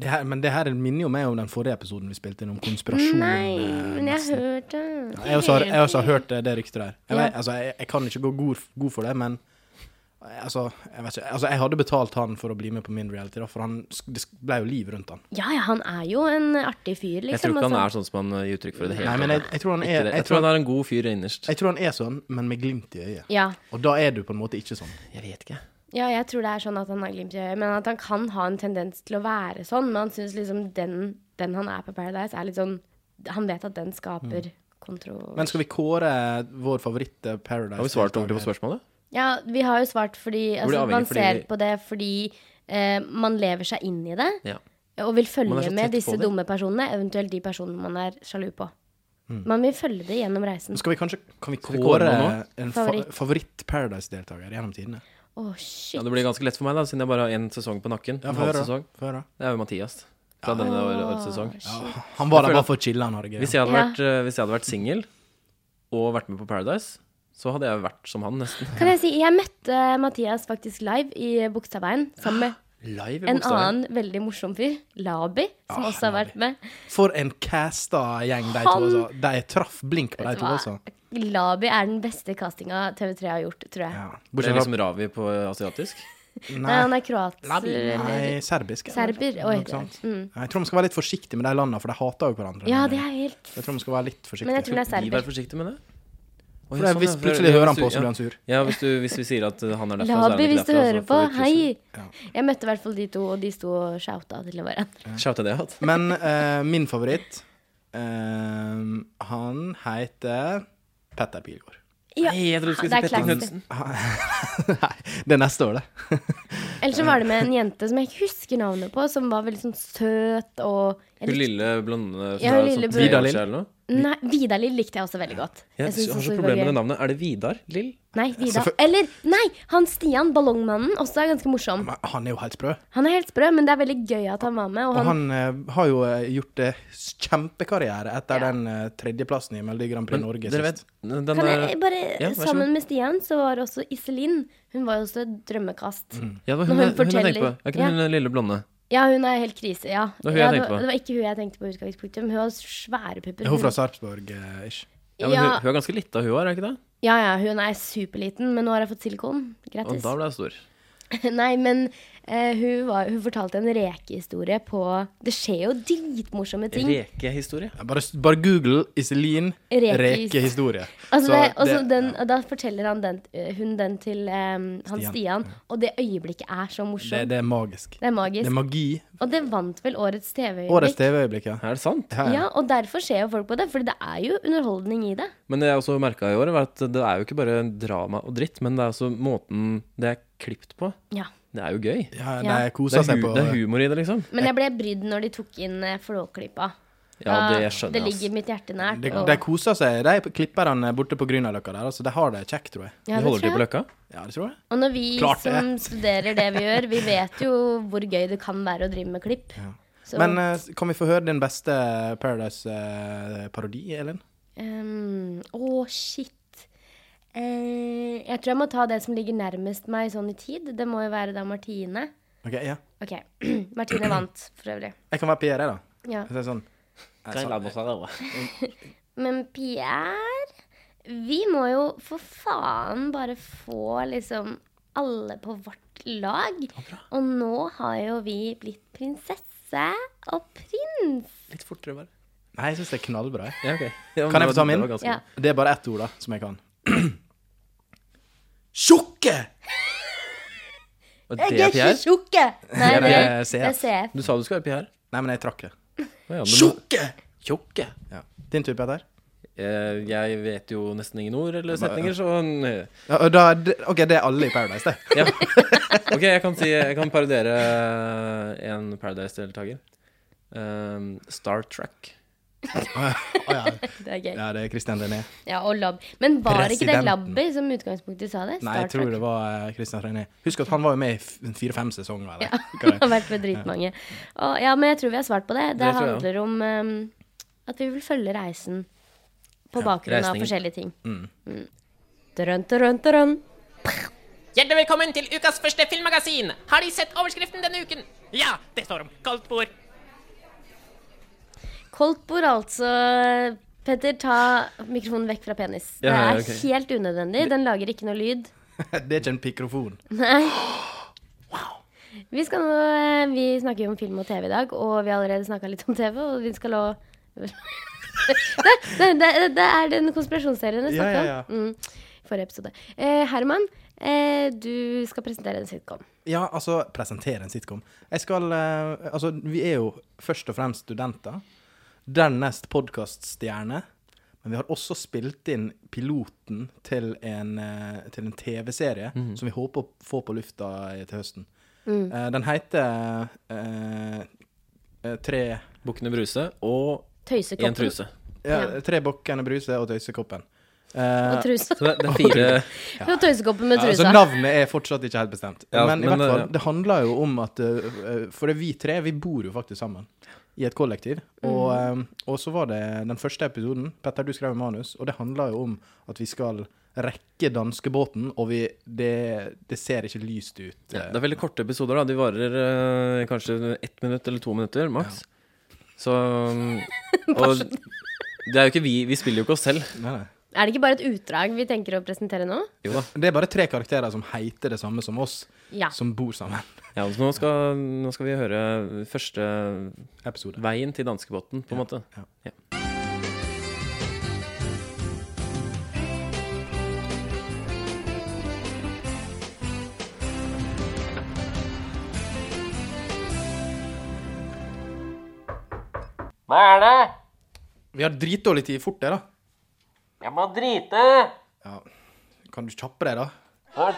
Speaker 2: det her, Men det her minner jo meg om den forrige episoden vi spilte inn, om konspirasjon.
Speaker 1: Nei,
Speaker 2: eh,
Speaker 1: men jeg hørte
Speaker 2: Jeg også har, jeg også har hørt eh, det, det ryktet der. Jeg,
Speaker 1: Ja.
Speaker 2: vet, altså, jeg, jeg kan ikke gå god, god for det, men eh, altså jeg, vet ikke, altså, jeg hadde betalt han for å bli med på min reality, da, for han, sk- det sk- ble jo liv rundt han.
Speaker 1: Ja, ja, han er jo en artig fyr, liksom.
Speaker 3: Jeg tror ikke han
Speaker 1: altså.
Speaker 3: er sånn som han eh, gir uttrykk for i det hele
Speaker 2: Nei, men jeg, jeg, tror han
Speaker 3: Ikke
Speaker 2: er,
Speaker 3: det.
Speaker 2: jeg,
Speaker 3: Jeg
Speaker 2: tror,
Speaker 3: tror han er en god fyr innerst.
Speaker 2: jeg tror han er sånn, men med glimt i øyet.
Speaker 1: Ja.
Speaker 2: Og da er du på en måte ikke sånn.
Speaker 3: Jeg vet ikke.
Speaker 1: ja, jeg tror det er sånn at han har glimt i øyet. Men at han kan ha en tendens til å være sånn. Men han syns liksom den, den han er på Paradise, er litt sånn Han vet at den skaper kontro...
Speaker 2: Men skal vi kåre vår favoritt eh, Paradise?
Speaker 3: Har vi svart ordentlig på spørsmålet?
Speaker 1: Ja, vi har jo svart fordi altså,
Speaker 3: avhengig
Speaker 1: Man
Speaker 3: fordi-
Speaker 1: ser på det fordi eh, man lever seg inn i det.
Speaker 3: Ja.
Speaker 1: Og vil
Speaker 3: Man er
Speaker 1: følge
Speaker 3: så tett
Speaker 1: med
Speaker 3: på
Speaker 1: disse
Speaker 3: det.
Speaker 1: dumme personene, eventuelt de personene man er sjalu på.
Speaker 3: Mm.
Speaker 1: Man vil følge det gjennom reisen.
Speaker 2: Skal vi kanskje kan vi
Speaker 3: vi
Speaker 2: kåre,
Speaker 3: kåre noen
Speaker 2: en fa
Speaker 1: Favoritt.
Speaker 2: favoritt Paradise-deltaker gjennom tidene?
Speaker 1: Å, shit.
Speaker 3: ja, Det blir ganske lett for meg, da, siden jeg bare har én sesong på nakken.
Speaker 2: Ja,
Speaker 3: En
Speaker 2: få
Speaker 3: halv
Speaker 2: høre. da.
Speaker 3: sesong.
Speaker 2: Få høre. da.
Speaker 3: Det er jo Mathias. Fra denne år- årets sesong.
Speaker 2: Ja, Han var
Speaker 3: Jeg
Speaker 2: der
Speaker 3: føler-
Speaker 2: bare for å chille, han har det
Speaker 3: Hvis
Speaker 2: gøy.
Speaker 3: jeg
Speaker 1: Ja.
Speaker 3: hadde vært, eh, hvis jeg hadde vært singel og vært med på Paradise, så hadde jeg vært som han, nesten.
Speaker 1: Kan jeg si Jeg møtte Mathias faktisk live i Bogstadveien sammen med
Speaker 3: Live i
Speaker 1: en
Speaker 3: bokstaven.
Speaker 1: annen veldig morsom fyr, Labi, som
Speaker 2: Ah,
Speaker 1: også har vært med.
Speaker 2: For en casta gjeng, de to.
Speaker 1: Han-
Speaker 2: Altså. De traff blink på de to,
Speaker 1: Hva?
Speaker 2: altså.
Speaker 1: Labi er den beste castinga TV3 har gjort, tror jeg.
Speaker 2: Ja.
Speaker 3: Det er
Speaker 2: Bortsett
Speaker 3: liksom Ravi på asiatisk.
Speaker 2: fra
Speaker 1: Nei,
Speaker 2: Nei,
Speaker 1: han er kroat. eller-
Speaker 2: nei serbisk. eller?
Speaker 1: Serber. Oi, Mm.
Speaker 2: Noe sånt. Jeg tror man skal være litt forsiktig med de landene, for de hater jo hverandre.
Speaker 1: Ja, det er helt
Speaker 2: Jeg tror man skal være litt forsiktig.
Speaker 1: Men jeg tror det er
Speaker 3: Skal vi
Speaker 1: serber.
Speaker 3: være forsiktige med det? Å,
Speaker 2: For
Speaker 3: ja,
Speaker 2: det er
Speaker 3: sånn, ja,
Speaker 2: hvis
Speaker 3: for-
Speaker 2: plutselig
Speaker 3: ja,
Speaker 2: hører
Speaker 3: hvis
Speaker 2: han
Speaker 3: du-
Speaker 2: på, så
Speaker 3: ja.
Speaker 2: blir han sur.
Speaker 3: Ja, hvis, du, hvis vi sier at uh, han er derfra, så er han
Speaker 1: Labi,
Speaker 3: ikke
Speaker 1: hvis du
Speaker 3: derfra.
Speaker 1: hører på, hei!
Speaker 2: Ja.
Speaker 1: Jeg møtte i hvert fall de to, og de sto og shouta til hverandre.
Speaker 3: Shouta det out.
Speaker 2: Men eh, min favoritt eh, Han heter Petter Pilgaard.
Speaker 1: Ja,
Speaker 3: Hei, jeg trodde du skulle
Speaker 1: det
Speaker 3: si
Speaker 1: er
Speaker 3: Petter
Speaker 1: classy.
Speaker 3: Knudsen.
Speaker 2: Nei, det er neste år, det.
Speaker 1: Eller så var det med en jente som jeg ikke husker navnet på, som var veldig sånn søt og
Speaker 3: Hun lille blonde som
Speaker 1: Ja,
Speaker 3: er
Speaker 1: hun
Speaker 3: sånn
Speaker 1: lille
Speaker 3: tre
Speaker 1: blonde.
Speaker 3: år
Speaker 2: Vidar Lill.
Speaker 3: siden eller noe.
Speaker 1: Nei, Vidar Lill likte jeg også veldig godt.
Speaker 3: Jeg
Speaker 1: synes
Speaker 3: har
Speaker 1: også
Speaker 3: så
Speaker 1: hun var
Speaker 3: problemer
Speaker 1: gøy.
Speaker 3: med navnet. Er det Vidar Lill?
Speaker 1: Nei,
Speaker 3: Altså,
Speaker 1: Vidar.
Speaker 2: Selvfø-
Speaker 1: Eller, nei! Han Stian, ballongmannen, også er ganske morsom.
Speaker 2: Men han er jo helt sprø.
Speaker 1: Han er helt sprø, men det er veldig gøy at han var med. Og
Speaker 2: Og
Speaker 1: han,
Speaker 2: han eh, har jo eh, gjort eh, kjempekarriere etter
Speaker 1: Ja.
Speaker 2: den eh, tredjeplassen i Melodi Grand Prix Norge
Speaker 3: Dere vet,
Speaker 2: sist.
Speaker 3: den
Speaker 1: kan
Speaker 3: er
Speaker 1: jeg bare,
Speaker 3: eh, Ja, vær så god.
Speaker 1: Sammen med Stian så var også Iselin. Hun var jo også et drømmekast.
Speaker 3: Ja, det var
Speaker 1: Når hun
Speaker 3: hun, jeg- hun jeg
Speaker 1: forteller-
Speaker 3: tenkte på. Er ikke hun lille blonde?
Speaker 1: Ja, hun er helt krise. ja.
Speaker 3: Det var hun jeg
Speaker 1: ja,
Speaker 3: tenkte på.
Speaker 1: det var ikke hun jeg tenkte på i utgangspunktet. men Hun har svære pupper.
Speaker 2: Er hun fra Sarpsborg, eh, ish?
Speaker 3: Ja, men hun, hun er ganske lita, hun òg, er hun ikke det?
Speaker 1: Ja, ja, hun er superliten, men nå har jeg fått silikon.
Speaker 3: Og
Speaker 1: Grattis.
Speaker 3: da ble jeg stor.
Speaker 1: Nei, men eh, hun, var, hun fortalte en rekehistorie på Det skjer jo dritmorsomme ting.
Speaker 3: Rekehistorie.
Speaker 2: Ja, Bare, bare google Iselin
Speaker 1: Rekehis-
Speaker 2: rekehistorie.
Speaker 1: Altså
Speaker 2: Så
Speaker 1: det, og så
Speaker 2: det-
Speaker 1: den, og Da forteller han den, eh, hun den til eh, han
Speaker 2: Stian.
Speaker 1: Stian, og det øyeblikket er så
Speaker 2: det,
Speaker 1: morsomt.
Speaker 2: det er magisk.
Speaker 1: Det er
Speaker 2: Det er
Speaker 1: magisk.
Speaker 2: magi.
Speaker 1: Og det vant vel årets
Speaker 2: Årets
Speaker 1: TV-øyeblikk.
Speaker 2: TV-øyeblikk, ja.
Speaker 3: Er det sant?
Speaker 2: Ja, ja.
Speaker 1: Ja, og derfor ser jo folk på det, for det er jo underholdning i det.
Speaker 3: Men det jeg også merka i år, var at det er jo ikke bare drama og dritt, men det er også måten det er klipt på.
Speaker 1: Ja.
Speaker 3: Det er jo gøy. Det
Speaker 2: Ja,
Speaker 1: Ja.
Speaker 2: De koser
Speaker 3: er,
Speaker 2: seg
Speaker 3: hu
Speaker 2: på
Speaker 3: det er humor i det, liksom.
Speaker 1: Men jeg ble brydd når de tok inn eh, Flåklypa.
Speaker 3: Ja, det skjønner
Speaker 1: Ah, Det
Speaker 3: jeg, ass.
Speaker 1: ligger mitt hjerte nært.
Speaker 2: de,
Speaker 1: og-
Speaker 2: de koser seg, de klipperne borte på Grünerløkka der. Altså, de har det kjekt, tror jeg.
Speaker 1: Ja,
Speaker 3: de
Speaker 1: det
Speaker 3: holder
Speaker 1: tror
Speaker 3: til på
Speaker 1: jeg.
Speaker 3: Løkka.
Speaker 2: Ja, det tror jeg.
Speaker 1: Og når vi
Speaker 2: Klart det.
Speaker 1: som studerer det vi gjør, vi vet jo hvor gøy det kan være å drive med klipp. Så,
Speaker 2: Men eh, kan vi få høre din beste Paradise-parodi, Elin?
Speaker 1: ehm, Å, shit. Eh, jeg tror jeg må ta det som ligger nærmest meg sånn i tid. Det må jo være da Martine.
Speaker 2: Ok, ja.
Speaker 1: OK. Martine vant, for øvrig.
Speaker 2: Jeg kan være Pierre, jeg, da.
Speaker 1: Ja.
Speaker 2: Jeg sier sånn. Jeg sa-
Speaker 3: Nei,
Speaker 1: Men Pierre, vi må jo for faen bare få liksom alle på vårt lag. Og nå har jo vi blitt prinsesse og prins.
Speaker 3: Litt fortere, bare.
Speaker 2: Nei, jeg syns det er knallbra. jeg.
Speaker 3: Ja, ok. Ja, men
Speaker 2: Kan jeg
Speaker 3: det
Speaker 2: få ta
Speaker 3: var-
Speaker 2: min?
Speaker 3: det var ganske
Speaker 1: Ja.
Speaker 2: Det er bare ett ord, da, som jeg kan. Tjukke!
Speaker 3: Og
Speaker 1: Jeg er ikke
Speaker 3: DPR?
Speaker 1: tjukke! Nei,
Speaker 2: Det
Speaker 1: det,
Speaker 2: er
Speaker 1: det er
Speaker 2: CF.
Speaker 1: CF.
Speaker 3: Du sa du skulle være PR.
Speaker 2: Nei, men jeg trakk det.
Speaker 3: Å ja, men-
Speaker 2: Tjukke!
Speaker 3: Tjukke.
Speaker 2: Ja. Din tur, Petter?
Speaker 3: Eh, Jeg vet jo nesten ingen ord eller setninger, så eh,
Speaker 2: Ja, og da, det- OK, det er alle i Paradise, det.
Speaker 3: ja. OK, jeg kan, si, jeg kan parodiere eh, en Paradise-deltaker. Um, Star Track.
Speaker 2: Å ja.
Speaker 1: Det er gøy.
Speaker 2: ja, det er Christian René.
Speaker 1: Ja, og lab. Men var ikke det
Speaker 2: Presidenten.
Speaker 1: Labby som utgangspunktet sa det?
Speaker 2: Nei, jeg tror det var eh, Christian René. Husk at han var jo med i f- en fire-fem sesonger. Eller? Hva
Speaker 1: Det
Speaker 2: det er.
Speaker 1: har vært med dritmange. Og, ja, men jeg tror vi har svart på det. Det,
Speaker 3: Det tror jeg
Speaker 1: handler om ehm, at vi vil følge reisen på bakgrunn av
Speaker 3: reisningen.
Speaker 1: forskjellige ting. Mm. Drønn, drønn, drønn.
Speaker 4: Hjertelig velkommen til ukas første filmmagasin. Har De sett overskriften denne uken? Ja, det står om kaldt bord.
Speaker 1: Koldtbord, altså. Petter, ta mikrofonen vekk fra penis.
Speaker 3: Ja, ja,
Speaker 1: det er
Speaker 3: ok.
Speaker 1: helt unødvendig. Den lager ikke noe lyd.
Speaker 2: det er ikke en mikrofon.
Speaker 1: Vi, skal nå, eh, vi snakker jo om film og TV i dag, og vi har allerede snakka litt om TV. Og vi skal nå det, det, det, det er den konspirasjonsserien jeg
Speaker 2: Ja,
Speaker 1: snakka
Speaker 2: ja,
Speaker 1: om. Mm, forrige episode. Eh, Herman, eh, du skal presentere en sitcom.
Speaker 2: Ja, altså, presentere en sitcom. Jeg skal eh, Altså, vi er jo først og fremst studenter. Dernest podkaststjerne. Men vi har også spilt inn piloten til en, eh, til en TV-serie som vi håper å få på lufta i- til høsten. Eh, den heter eh, eh, Tre
Speaker 3: Bukkene Bruse og
Speaker 1: Tøysekoppen.
Speaker 3: én truse.
Speaker 2: ja,
Speaker 1: Ja.
Speaker 2: Tre bokkene Bruse og Tøysekoppen.
Speaker 1: Og
Speaker 2: Eh,
Speaker 1: trusa.
Speaker 3: Så det, det er fire
Speaker 1: Og tøysekoppen med
Speaker 2: Ja, altså
Speaker 1: trusa.
Speaker 2: Navnet er fortsatt ikke helt bestemt.
Speaker 3: Ja,
Speaker 2: men, i
Speaker 3: men,
Speaker 2: hvert fall,
Speaker 3: eh,
Speaker 2: det handler jo om at eh, eh, For det er vi tre, vi bor jo faktisk sammen i et kollektiv. Og, eh, og så var det den første episoden. Petter, du skrev manus, og det handler jo om at vi skal rekke danskebåten, og vi det, det ser ikke lyst ut.
Speaker 3: ja,
Speaker 2: eh.
Speaker 3: Det er veldig korte episoder. da De varer eh, kanskje ett minutt eller to minutter maks. Så um, Og det er jo ikke vi Vi spiller jo ikke oss selv.
Speaker 2: Eh, Nei, nei.
Speaker 1: Er det ikke bare et utdrag vi tenker å presentere nå?
Speaker 3: Jo da.
Speaker 2: Det er bare tre karakterer som heter det samme som oss,
Speaker 1: Ja.
Speaker 2: som bor sammen.
Speaker 3: Ja, så nå, skal, nå skal vi høre første
Speaker 2: Episode.
Speaker 3: veien til danskebåten, på en måte.
Speaker 2: ja.
Speaker 3: Ja.
Speaker 4: Hva er det?
Speaker 2: Vi har dritdårlig tid. Fort det, da.
Speaker 4: Jeg må drite.
Speaker 2: Ja. Kan du kjappe deg, da?
Speaker 4: Hva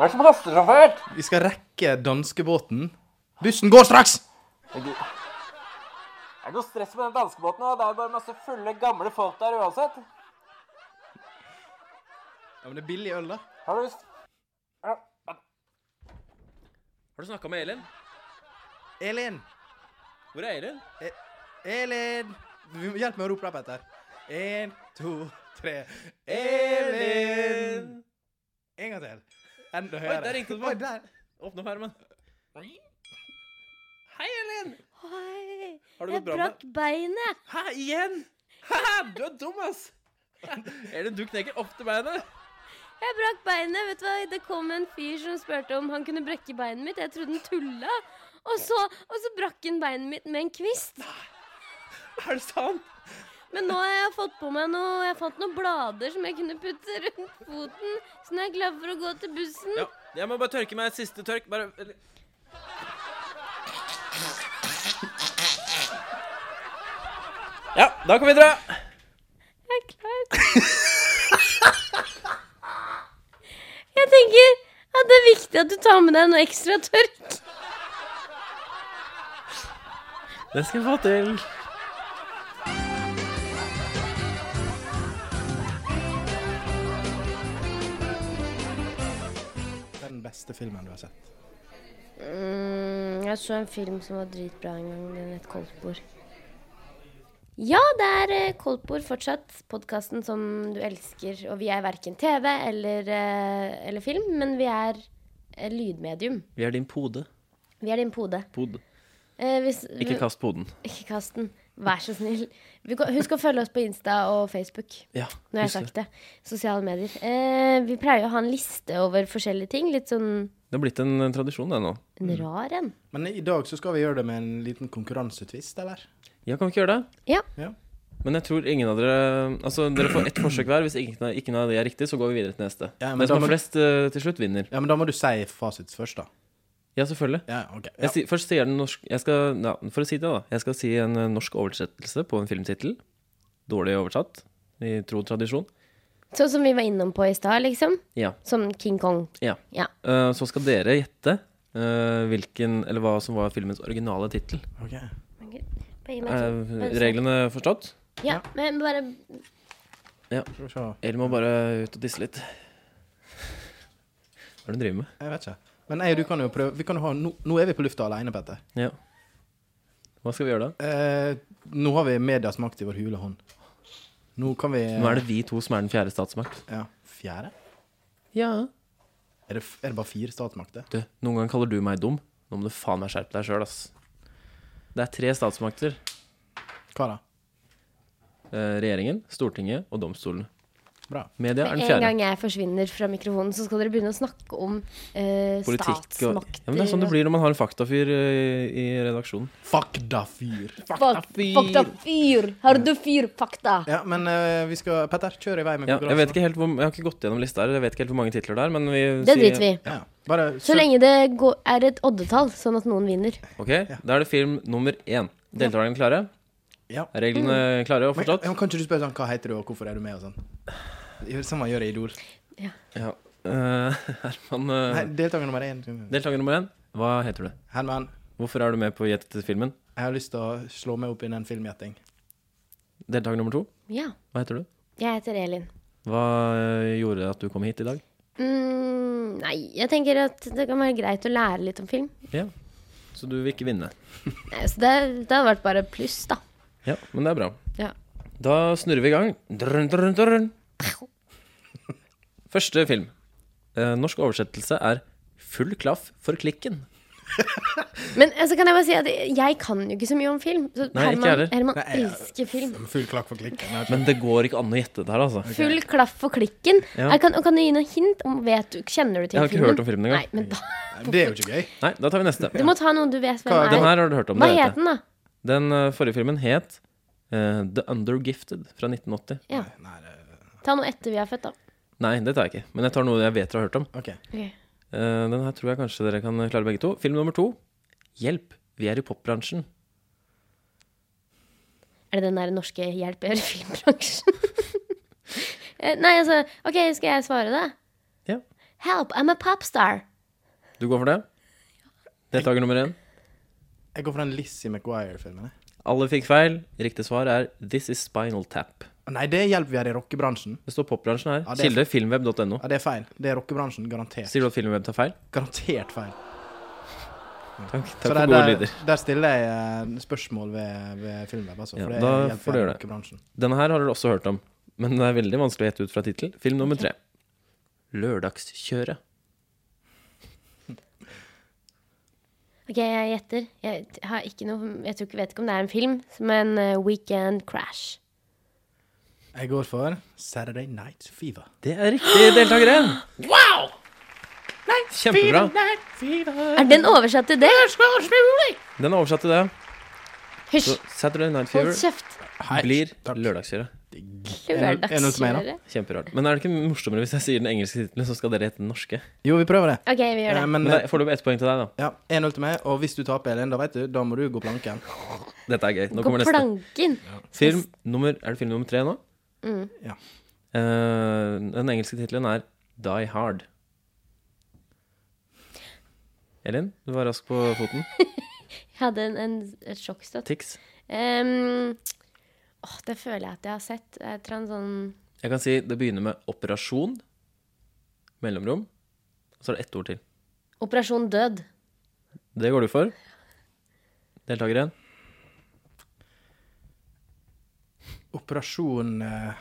Speaker 4: hva er det som haster så fælt?
Speaker 2: Vi skal rekke danskebåten. Bussen går straks!
Speaker 4: Er det noe stress med den danskebåten? da? Det er jo bare masse fulle, gamle folk der uansett.
Speaker 2: Ja, men det er billig øl, da.
Speaker 4: Har du lyst? Ja.
Speaker 3: Har du snakka med Elin?
Speaker 2: Elin!
Speaker 3: Hvor er Elin?
Speaker 2: E Elin! Vi må- Hjelp meg å rope deg, Petter. En, to, tre. Elin! En gang til. Enda høyere.
Speaker 3: der ringte det på.
Speaker 2: Oi, der.
Speaker 3: Åpne opp ermen. Hei, Elin!
Speaker 1: Oi,
Speaker 3: Har
Speaker 1: jeg
Speaker 3: det gått bra med
Speaker 1: brakk beinet.
Speaker 3: Hæ, igjen? Haha, du er dum, ass! Elin, du knekker opp til beinet.
Speaker 1: Jeg brakk beinet. Vet du hva? Det kom en fyr som spurte om han kunne brekke beinet mitt. Jeg trodde han tulla. Og så, og så brakk han beinet mitt med en kvist.
Speaker 3: Er det sant?
Speaker 1: Men nå har jeg fått på meg noe Jeg fant noen blader som jeg kunne putte rundt foten. Så nå er jeg glad for å gå til bussen.
Speaker 3: Ja. Jeg må bare tørke meg et siste tørk. Bare eller- Ja, da kan vi dra.
Speaker 1: Jeg er klar. Jeg tenker at det er viktig at du tar med deg noe ekstra tørk.
Speaker 3: Det skal jeg få til.
Speaker 2: Den beste filmen du har sett.
Speaker 1: Mm, jeg så en film som var dritbra en gang. Den het Koldtbord. Ja, det er eh, Koldtbord fortsatt. Podkasten som du elsker. Og vi er verken TV eller, eh, eller film, men vi er eh, lydmedium.
Speaker 3: Vi er din pode.
Speaker 1: Vi er din pode.
Speaker 3: Pod.
Speaker 1: Eh, hvis,
Speaker 3: Ikke kast poden.
Speaker 1: ikke kast den. Vær så snill. Vi kan- Husk å følge oss på Insta og Facebook.
Speaker 3: Ja,
Speaker 1: Nå har jeg sagt det. Sosiale medier. Eh, vi pleier å ha en liste over forskjellige ting. Litt sånn
Speaker 3: Det har blitt en eh, tradisjon, det nå.
Speaker 1: en rar en.
Speaker 2: Men i dag så skal vi gjøre det med en liten konkurransetvist, eller?
Speaker 3: Ja, kan vi ikke gjøre det?
Speaker 1: Ja.
Speaker 2: Ja.
Speaker 3: Men jeg tror ingen av dere Altså, dere får ett forsøk hver. Hvis ingen, av- ingen av de er riktig, så går vi videre til neste.
Speaker 2: Ja, men
Speaker 3: Den som
Speaker 2: da
Speaker 3: har
Speaker 2: må-
Speaker 3: flest eh, til slutt, vinner.
Speaker 2: Ja, men da må du si fasit først, da.
Speaker 3: Ja, selvfølgelig.
Speaker 2: Ja, ok. Ja.
Speaker 3: Jeg si, først sier den norsk jeg skal, ja, For å si det, da. Jeg skal si en eh, norsk oversettelse på en filmtittel. Dårlig oversatt, i tro og tradisjon.
Speaker 1: Sånn som vi var innom på i stad, liksom.
Speaker 3: Ja.
Speaker 1: Som King Kong.
Speaker 3: ja.
Speaker 1: Ja.
Speaker 3: Eh, så skal dere gjette eh, hvilken Eller hva som var filmens originale tittel.
Speaker 2: Ok.
Speaker 1: Bare gi meg
Speaker 3: Er
Speaker 1: tid. Bare se.
Speaker 3: reglene forstått?
Speaker 1: Ja, men bare
Speaker 2: Skal vi se.
Speaker 3: Eller må bare ut og tisse litt. Hva er det du driver med?
Speaker 2: Jeg vet ikke. Men jeg og du kan jo prøve. Vi kan jo ha, nå, nå er vi på lufta alene, Petter.
Speaker 3: Ja. Hva skal vi gjøre da?
Speaker 2: Eh, nå har vi media som aktiv vår hule hånd. Nå kan vi
Speaker 3: Nå er det vi to som er den fjerde statsmakt.
Speaker 2: Ja, fjerde?
Speaker 3: Ja.
Speaker 2: Er det, f- er det bare fire statsmakter?
Speaker 3: Du, noen ganger kaller du meg dum. Nå må du faen meg skjerpe deg sjøl, ass. Det er tre statsmakter.
Speaker 2: Hva da?
Speaker 3: Eh, regjeringen, Stortinget og domstolene.
Speaker 2: Bra.
Speaker 3: Media er
Speaker 1: Med
Speaker 3: den
Speaker 1: en
Speaker 3: fjerde.
Speaker 1: gang jeg forsvinner fra mikrofonen, så skal dere begynne å snakke om eh,
Speaker 3: Politikk og
Speaker 1: statsmakter.
Speaker 3: ja, men Det er sånn det blir når man har en faktafyr eh, i redaksjonen.
Speaker 2: Fuck da fyr!
Speaker 1: Fuck, fuck da, fyr! Har du fyr? Fakta!
Speaker 2: Ja, men eh, vi skal Petter, kjør i vei med
Speaker 3: Ja, jeg, vet
Speaker 2: konkurransen.
Speaker 3: ikke helt hvor, jeg har ikke gått gjennom lista her. Jeg vet ikke helt hvor mange titler det er, men vi
Speaker 1: Det driter vi i.
Speaker 2: Ja, bare
Speaker 1: Så
Speaker 2: søk-
Speaker 1: lenge det går, er et oddetall, sånn at noen vinner.
Speaker 3: Ok, Da er det film nummer én. Deltakerne klare?
Speaker 2: Ja.
Speaker 3: Er reglene klare og
Speaker 2: Men,
Speaker 3: forstått?
Speaker 2: Mm. ja, men kan ikke du spørre sånn Hva heter du, og hvorfor er du med, og sånn? Gjør- Som man gjør i Idol.
Speaker 3: Ja. Eh, Herman eh,
Speaker 2: Nei, Deltaker nummer én.
Speaker 3: Deltaker nummer én, hva heter du?
Speaker 2: Herman,
Speaker 3: Hvorfor er du med på Gjett etter filmen?
Speaker 2: jeg har lyst til å slå meg opp i en filmgjetting.
Speaker 3: Deltaker nummer to,
Speaker 1: Ja.
Speaker 3: hva heter du?
Speaker 1: Jeg heter Elin.
Speaker 3: Hva eh, gjorde at du kom hit i dag?
Speaker 1: Mm, nei, jeg tenker at det kan være greit å lære litt om film.
Speaker 3: Ja. Så du vil ikke vinne?
Speaker 1: Nei, Så det, det hadde vært bare pluss, da.
Speaker 3: Ja, men det er bra.
Speaker 1: Ja.
Speaker 3: Da snurrer vi i gang. Drrrn, drrrn, drrrn. Første film. Eh, norsk oversettelse er 'Full klaff for klikken'.
Speaker 1: Men altså, kan jeg bare si at jeg kan jo ikke så mye om film. Så
Speaker 3: Nei, ikke
Speaker 1: Herman,
Speaker 3: heller.
Speaker 1: Herman
Speaker 2: Nei, jeg-
Speaker 1: elsker film.
Speaker 2: Full klakk for klikken.
Speaker 3: Men det går ikke an å gjette det her, altså.
Speaker 1: Full klaff for klikken.
Speaker 3: Ja.
Speaker 1: Er- Kan, og kan du gi noen hint? Om, vet du, kjenner du til
Speaker 3: Jeg har ikke
Speaker 1: filmen?
Speaker 3: hørt om filmen engang.
Speaker 1: Nei, men da,
Speaker 2: Det er jo ikke gøy.
Speaker 3: Nei, da tar vi neste.
Speaker 1: du må ta noe du vet hvem
Speaker 2: Hva-
Speaker 1: er.
Speaker 3: Den her har du hørt om.
Speaker 1: Hva
Speaker 3: det vet jeg.
Speaker 1: het den, da?
Speaker 3: Den eh, forrige filmen het eh, The Undergifted fra 1980.
Speaker 1: Ja.
Speaker 2: Nei, det...
Speaker 1: Ta noe etter vi er født, da.
Speaker 3: Nei, det tar jeg ikke. Men jeg tar noe jeg vet dere har hørt om.
Speaker 2: OK.
Speaker 3: Eh, den her tror jeg kanskje dere kan klare begge to. Film nummer to. Hjelp, vi er i popbransjen.
Speaker 1: Er det den der norske hjelper filmbransjen? Eh, Nei, altså OK, skal jeg svare, da?
Speaker 3: Ja.
Speaker 1: Help, I'm a popstar.
Speaker 3: Du går for det? Deltaker nummer én.
Speaker 2: Jeg går for den Lizzie McGuire-filmen. jeg.
Speaker 3: Alle fikk feil. Riktig svar er This is Spinal Tap.
Speaker 2: Å, Nei, det hjelper vi her i rockebransjen.
Speaker 3: Det står popbransjen her.
Speaker 2: Ja, det er-
Speaker 3: Kilde filmweb.no.
Speaker 2: Ja, det er feil. Det er rockebransjen. Garantert.
Speaker 3: Sier du at filmweb tar feil?
Speaker 2: Garantert feil.
Speaker 3: Takk, takk
Speaker 2: Så
Speaker 3: for
Speaker 2: der,
Speaker 3: gode
Speaker 2: der,
Speaker 3: lyder.
Speaker 2: der stiller jeg eh, spørsmål ved, ved filmweb, altså.
Speaker 3: Ja,
Speaker 2: For det
Speaker 3: da
Speaker 2: hjelper
Speaker 3: får du
Speaker 2: her i
Speaker 3: gjøre det.
Speaker 2: rockebransjen.
Speaker 3: Denne her har dere også hørt om, men det er veldig vanskelig å gjette ut fra tittel. Film nummer tre. Lørdagskjøret.
Speaker 1: OK, jeg gjetter. Jeg, har ikke noe, jeg tror ikke vet ikke om det er en film, men eh, Weekend Crash.
Speaker 2: Jeg går for Saturday Night Fever.
Speaker 3: Det er riktig, deltaker én.
Speaker 4: Wow!
Speaker 3: Kjempebra.
Speaker 1: Er den oversatt til det?
Speaker 3: Den er oversatt til det.
Speaker 1: Hysj!
Speaker 3: Så Saturday Night
Speaker 1: Hold
Speaker 3: Fever
Speaker 1: kjeft.
Speaker 2: Hei,
Speaker 3: blir
Speaker 2: takk.
Speaker 3: lørdagskjøret.
Speaker 2: Er det- er det noe som er da?
Speaker 1: Lørdagskjørere.
Speaker 3: Kjemperart. Men er det ikke morsommere hvis jeg sier den engelske tittelen, så skal dere gjette den norske?
Speaker 2: Jo, vi prøver det.
Speaker 1: OK, vi gjør
Speaker 2: Eh,
Speaker 1: det.
Speaker 2: Men
Speaker 3: Men
Speaker 2: eh,
Speaker 3: det er foreløpig ett poeng til deg, da.
Speaker 2: ja, 1-0 til meg, og hvis du taper, Elin, da vet du, da må du gå planken.
Speaker 3: Dette er gøy.
Speaker 1: Gå
Speaker 3: Nå kommer neste.
Speaker 1: planken.
Speaker 3: Film nummer, er det film nummer tre nå?
Speaker 2: Ja.
Speaker 3: Eh, den engelske tittelen er Die Hard. Elin, du var rask på foten.
Speaker 1: Jeg hadde en, en, et sjokkstøt.
Speaker 3: Tix.
Speaker 1: Ehm, åh, det føler jeg at jeg har sett. Jeg tror han sånn
Speaker 3: Jeg kan si det begynner med operasjon, mellomrom, og så er det ett ord til.
Speaker 1: Operasjon død.
Speaker 3: Det går du for. Deltaker én.
Speaker 2: Operasjon eh,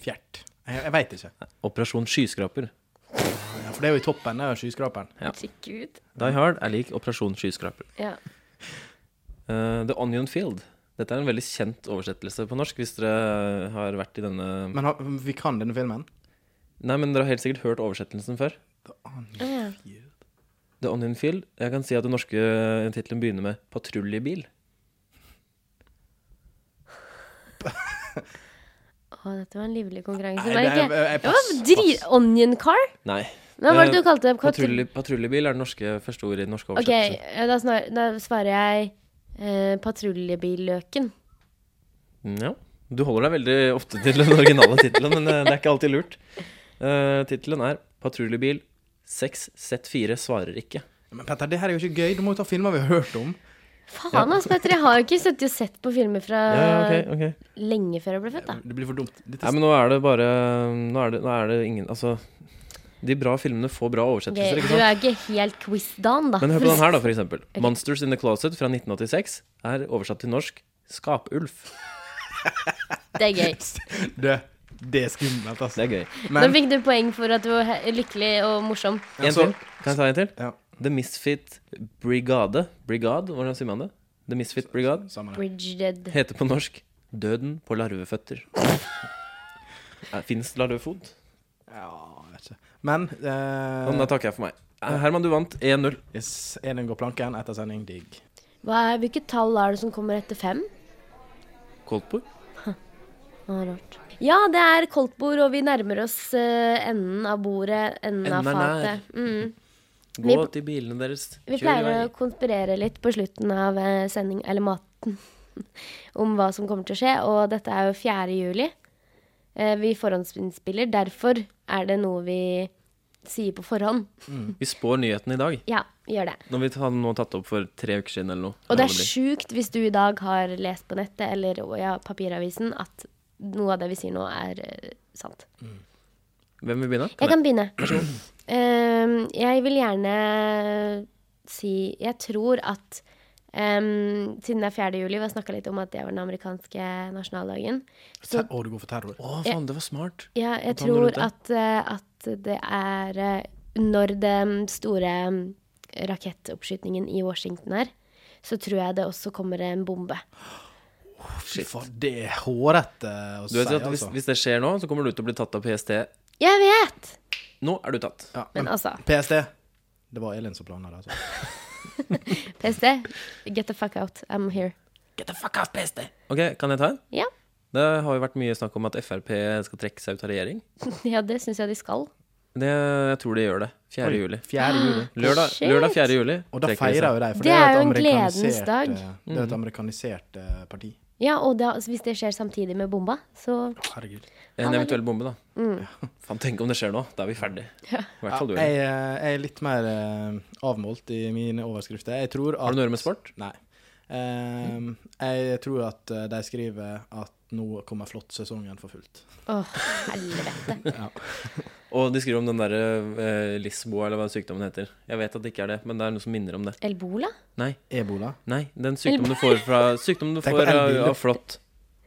Speaker 2: Fjert. Jeg, jeg veit ikke.
Speaker 3: Operasjon skyskraper.
Speaker 2: Ja, for det er jo i toppen av skyskraperen.
Speaker 3: Ja.
Speaker 1: Herregud.
Speaker 3: Die Hard er lik Operasjon skyskraper.
Speaker 1: Ja.
Speaker 3: Eh, The Onion Field. Dette er en veldig kjent oversettelse på norsk, hvis dere har vært i denne
Speaker 2: Men har, vi kan denne filmen.
Speaker 3: Nei, men dere har helt sikkert hørt oversettelsen før.
Speaker 1: Å, ja.
Speaker 3: The Onion Field. eh, Jeg kan si at den norske tittelen begynner med patruljebil.
Speaker 1: Å, dette var en livlig konkurranse.
Speaker 2: Nei,
Speaker 1: var det
Speaker 2: det er-
Speaker 1: ikke?
Speaker 2: jeg- jeg
Speaker 1: Det
Speaker 2: pass,
Speaker 1: var drit... Onion car?
Speaker 3: Nei.
Speaker 1: Hva var det du
Speaker 3: Eh,
Speaker 1: kalte det?
Speaker 3: Patrulje, patruljebil er det norske første ordet i den norske
Speaker 1: Ok,
Speaker 3: oversettelse.
Speaker 1: eh, da, snar, da svarer jeg eh, patruljebilløken.
Speaker 3: Mm, Ja. Du holder deg veldig ofte til den originale tittelen, men eh, det er ikke alltid lurt. Uh, tittelen er 'Patruljebil 6 Z4 svarer ikke'.
Speaker 2: Men Petter, det her er jo ikke gøy. Du må jo ta filmer vi har hørt om.
Speaker 1: Faen, ass, Petter. Jeg har jo ikke sittet og sett på filmer fra
Speaker 3: Ja, ja, ok, ok
Speaker 1: lenge før jeg ble født, da.
Speaker 2: Det blir for dumt. Dette
Speaker 3: Nei, men nå er det bare Nå er det, nå er det ingen Altså, de bra filmene får bra
Speaker 1: Ok,
Speaker 3: oversettelser, ikke
Speaker 1: du
Speaker 3: sant?
Speaker 1: er ikke helt quiz-Dan, da.
Speaker 3: Men hør på den her, da, for eksempel. 'Monsters in the Closet' fra 1986 er oversatt til norsk 'Skapulf'.
Speaker 1: Det er gøy.
Speaker 2: det, det er skummelt, altså.
Speaker 3: Det er gøy.
Speaker 1: Nå
Speaker 2: Men
Speaker 1: fikk du poeng for at du var he- lykkelig og morsom.
Speaker 3: En
Speaker 2: så-
Speaker 3: til. Kan jeg ta en til?
Speaker 2: Ja.
Speaker 3: The Misfit Brigade Brigade, hvordan sier man det? The Misfit Brigade
Speaker 2: Samme det.
Speaker 1: Bridged.
Speaker 3: heter på norsk 'Døden på larveføtter'. Fins larvefot?
Speaker 2: Ja, jeg vet ikke. Men
Speaker 3: Men
Speaker 2: eh,
Speaker 3: Da takker jeg for meg. Eh, Herman, du vant 1-0.
Speaker 2: yes, Elin går planken etter sending. Digg.
Speaker 1: Hva er, hvilket tall er det som kommer etter fem?
Speaker 3: Coldport?
Speaker 1: Å, rart. Ja, det er koldtbord, og vi nærmer oss eh, enden av bordet, enden,
Speaker 3: Enden
Speaker 1: av
Speaker 3: er nær.
Speaker 1: fatet. Mm.
Speaker 3: Gå til bilene deres.
Speaker 1: Vi
Speaker 3: Kjør i
Speaker 1: pleier å
Speaker 3: vei.
Speaker 1: konspirere litt på slutten av eh, sending, eller maten, om hva som kommer til å skje. Og dette er jo 4. juli. Eh, Vi forhåndsinnspiller, derfor er det noe vi sier på forhånd.
Speaker 3: Vi spår nyheten i dag.
Speaker 1: Ja, vi gjør det.
Speaker 3: Når vi har nå tatt opp for tre uker siden eller noe.
Speaker 1: Og det
Speaker 3: Eller hva
Speaker 1: er
Speaker 3: blir.
Speaker 1: sjukt hvis du i dag har lest på nettet eller å ja, papiravisen at noe av det vi sier nå, er eh, sant.
Speaker 3: Hvem vil begynne?
Speaker 1: Jeg kan begynne. Ehm, jeg vil gjerne si Jeg tror at ehm, siden det er 4. juli, vi har snakka litt om at det var den amerikanske nasjonaldagen
Speaker 2: Ter
Speaker 1: Så
Speaker 2: å, du går for terror.
Speaker 3: Å, faen, det var smart.
Speaker 1: ja, jeg
Speaker 3: Ta noe rundt
Speaker 1: tror at,
Speaker 3: det.
Speaker 1: eh, at det er eh, Når den store mm, rakettoppskytingen i Washington er, så tror jeg det også kommer en bombe.
Speaker 2: Fy faen, det er hårete å
Speaker 3: Du
Speaker 2: si,
Speaker 3: vet jo at hvis,
Speaker 2: altså.
Speaker 3: hvis det skjer nå, så kommer du til å bli tatt av PST.
Speaker 1: Jeg vet!
Speaker 3: Nå er du tatt.
Speaker 2: Ja,
Speaker 1: Men altså,
Speaker 2: PST. Det var Elin som planla det, altså.
Speaker 1: PST, get the fuck out. I'm here.
Speaker 4: Get the fuck out, PST.
Speaker 3: Ok, kan jeg ta en?
Speaker 1: Ja,
Speaker 3: Det har jo vært mye snakk om at Frp skal trekke seg ut av regjering.
Speaker 1: ja det syns jeg de skal.
Speaker 3: Det, jeg tror de gjør det. 4. juli.
Speaker 2: Fjerde juli.
Speaker 3: Lørdag,
Speaker 1: Shit.
Speaker 3: lørdag 4. juli.
Speaker 2: Og da
Speaker 3: trekker de seg.
Speaker 2: feirer jo de, for
Speaker 1: Det
Speaker 2: det,
Speaker 1: er
Speaker 2: et
Speaker 1: jo en
Speaker 2: amerikanisert,
Speaker 1: gledens dag.
Speaker 2: eh, Det er et
Speaker 3: Mm.
Speaker 2: amerikanisert eh, parti.
Speaker 1: Ja, og da, altså, hvis det skjer samtidig med bomba, så
Speaker 2: Herregud.
Speaker 3: En eventuell bombe, da.
Speaker 1: Mm.
Speaker 3: Faen, tenk om det skjer nå. Da er vi ferdig. I hvert fall du.
Speaker 2: Jeg,
Speaker 3: Elin.
Speaker 2: eh, jeg er litt mer eh, avmålt i mine overskrifter. Jeg tror at
Speaker 3: Har du noe å gjøre med sport?
Speaker 2: Nei. Ehm, jeg tror at eh, de skriver at nå kommer flåttsesongen for fullt.
Speaker 1: Å, helvete.
Speaker 3: Og de skriver om den derre eh, Lisboa, eller hva sykdommen heter. Jeg vet at det ikke er det, men det er noe som minner om det.
Speaker 1: Elbola?
Speaker 3: Nei.
Speaker 2: Ebola.
Speaker 3: Nei, den sykdommen du får fra Sykdommen du
Speaker 2: Tenk
Speaker 3: får
Speaker 2: på
Speaker 3: av,
Speaker 2: elbil.
Speaker 3: av flått.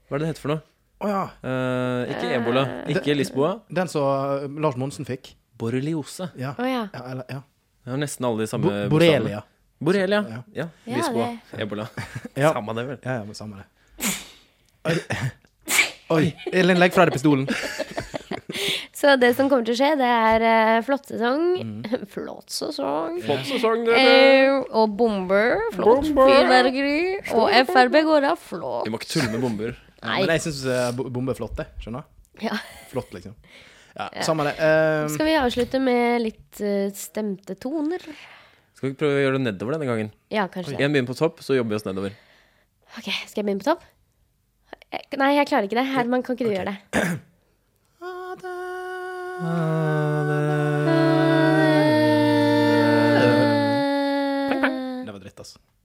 Speaker 3: Hva er det det heter for noe?
Speaker 2: Å ja.
Speaker 3: Eh, ikke ebola, ikke Lisboa.
Speaker 2: Den som eh, Lars Monsen fikk.
Speaker 3: Borreliose.
Speaker 2: Ja.
Speaker 1: Å ja.
Speaker 2: ja, eller, ja.
Speaker 3: Det har nesten alle de samme
Speaker 2: Bo Borrelia.
Speaker 3: bokstavene. Borrelia. Ja.
Speaker 1: Ja,
Speaker 3: Lisboa. Ebola.
Speaker 2: Ja.
Speaker 3: Samme det, vel.
Speaker 2: Ja, ja, men samme det. Oi. Oi. Elin, legg fra deg pistolen.
Speaker 1: Så det som kommer til å skje, det er eh, flåttsesong. Mm. Flåttsesong.
Speaker 3: Podsesong,
Speaker 1: Eh, og bomber. Flått fyrverkeri. Og Frp går av
Speaker 3: Vi
Speaker 1: flått.
Speaker 3: må ikke tulle med bomber.
Speaker 2: Ja, men jeg syns bombe er flott, jeg. Skjønner?
Speaker 1: Ja.
Speaker 2: Flott, liksom. Ja, samme det. Ehm,
Speaker 1: Skal vi avslutte med litt eh, stemte toner?
Speaker 3: Skal vi ikke prøve å gjøre det nedover denne gangen?
Speaker 1: Ja, kanskje det.
Speaker 3: Én begynner på topp, så jobber vi oss nedover.
Speaker 1: Ok, Skal jeg begynne på topp? Eh, Nei, jeg klarer ikke det. Herman, kan ikke du gjøre det?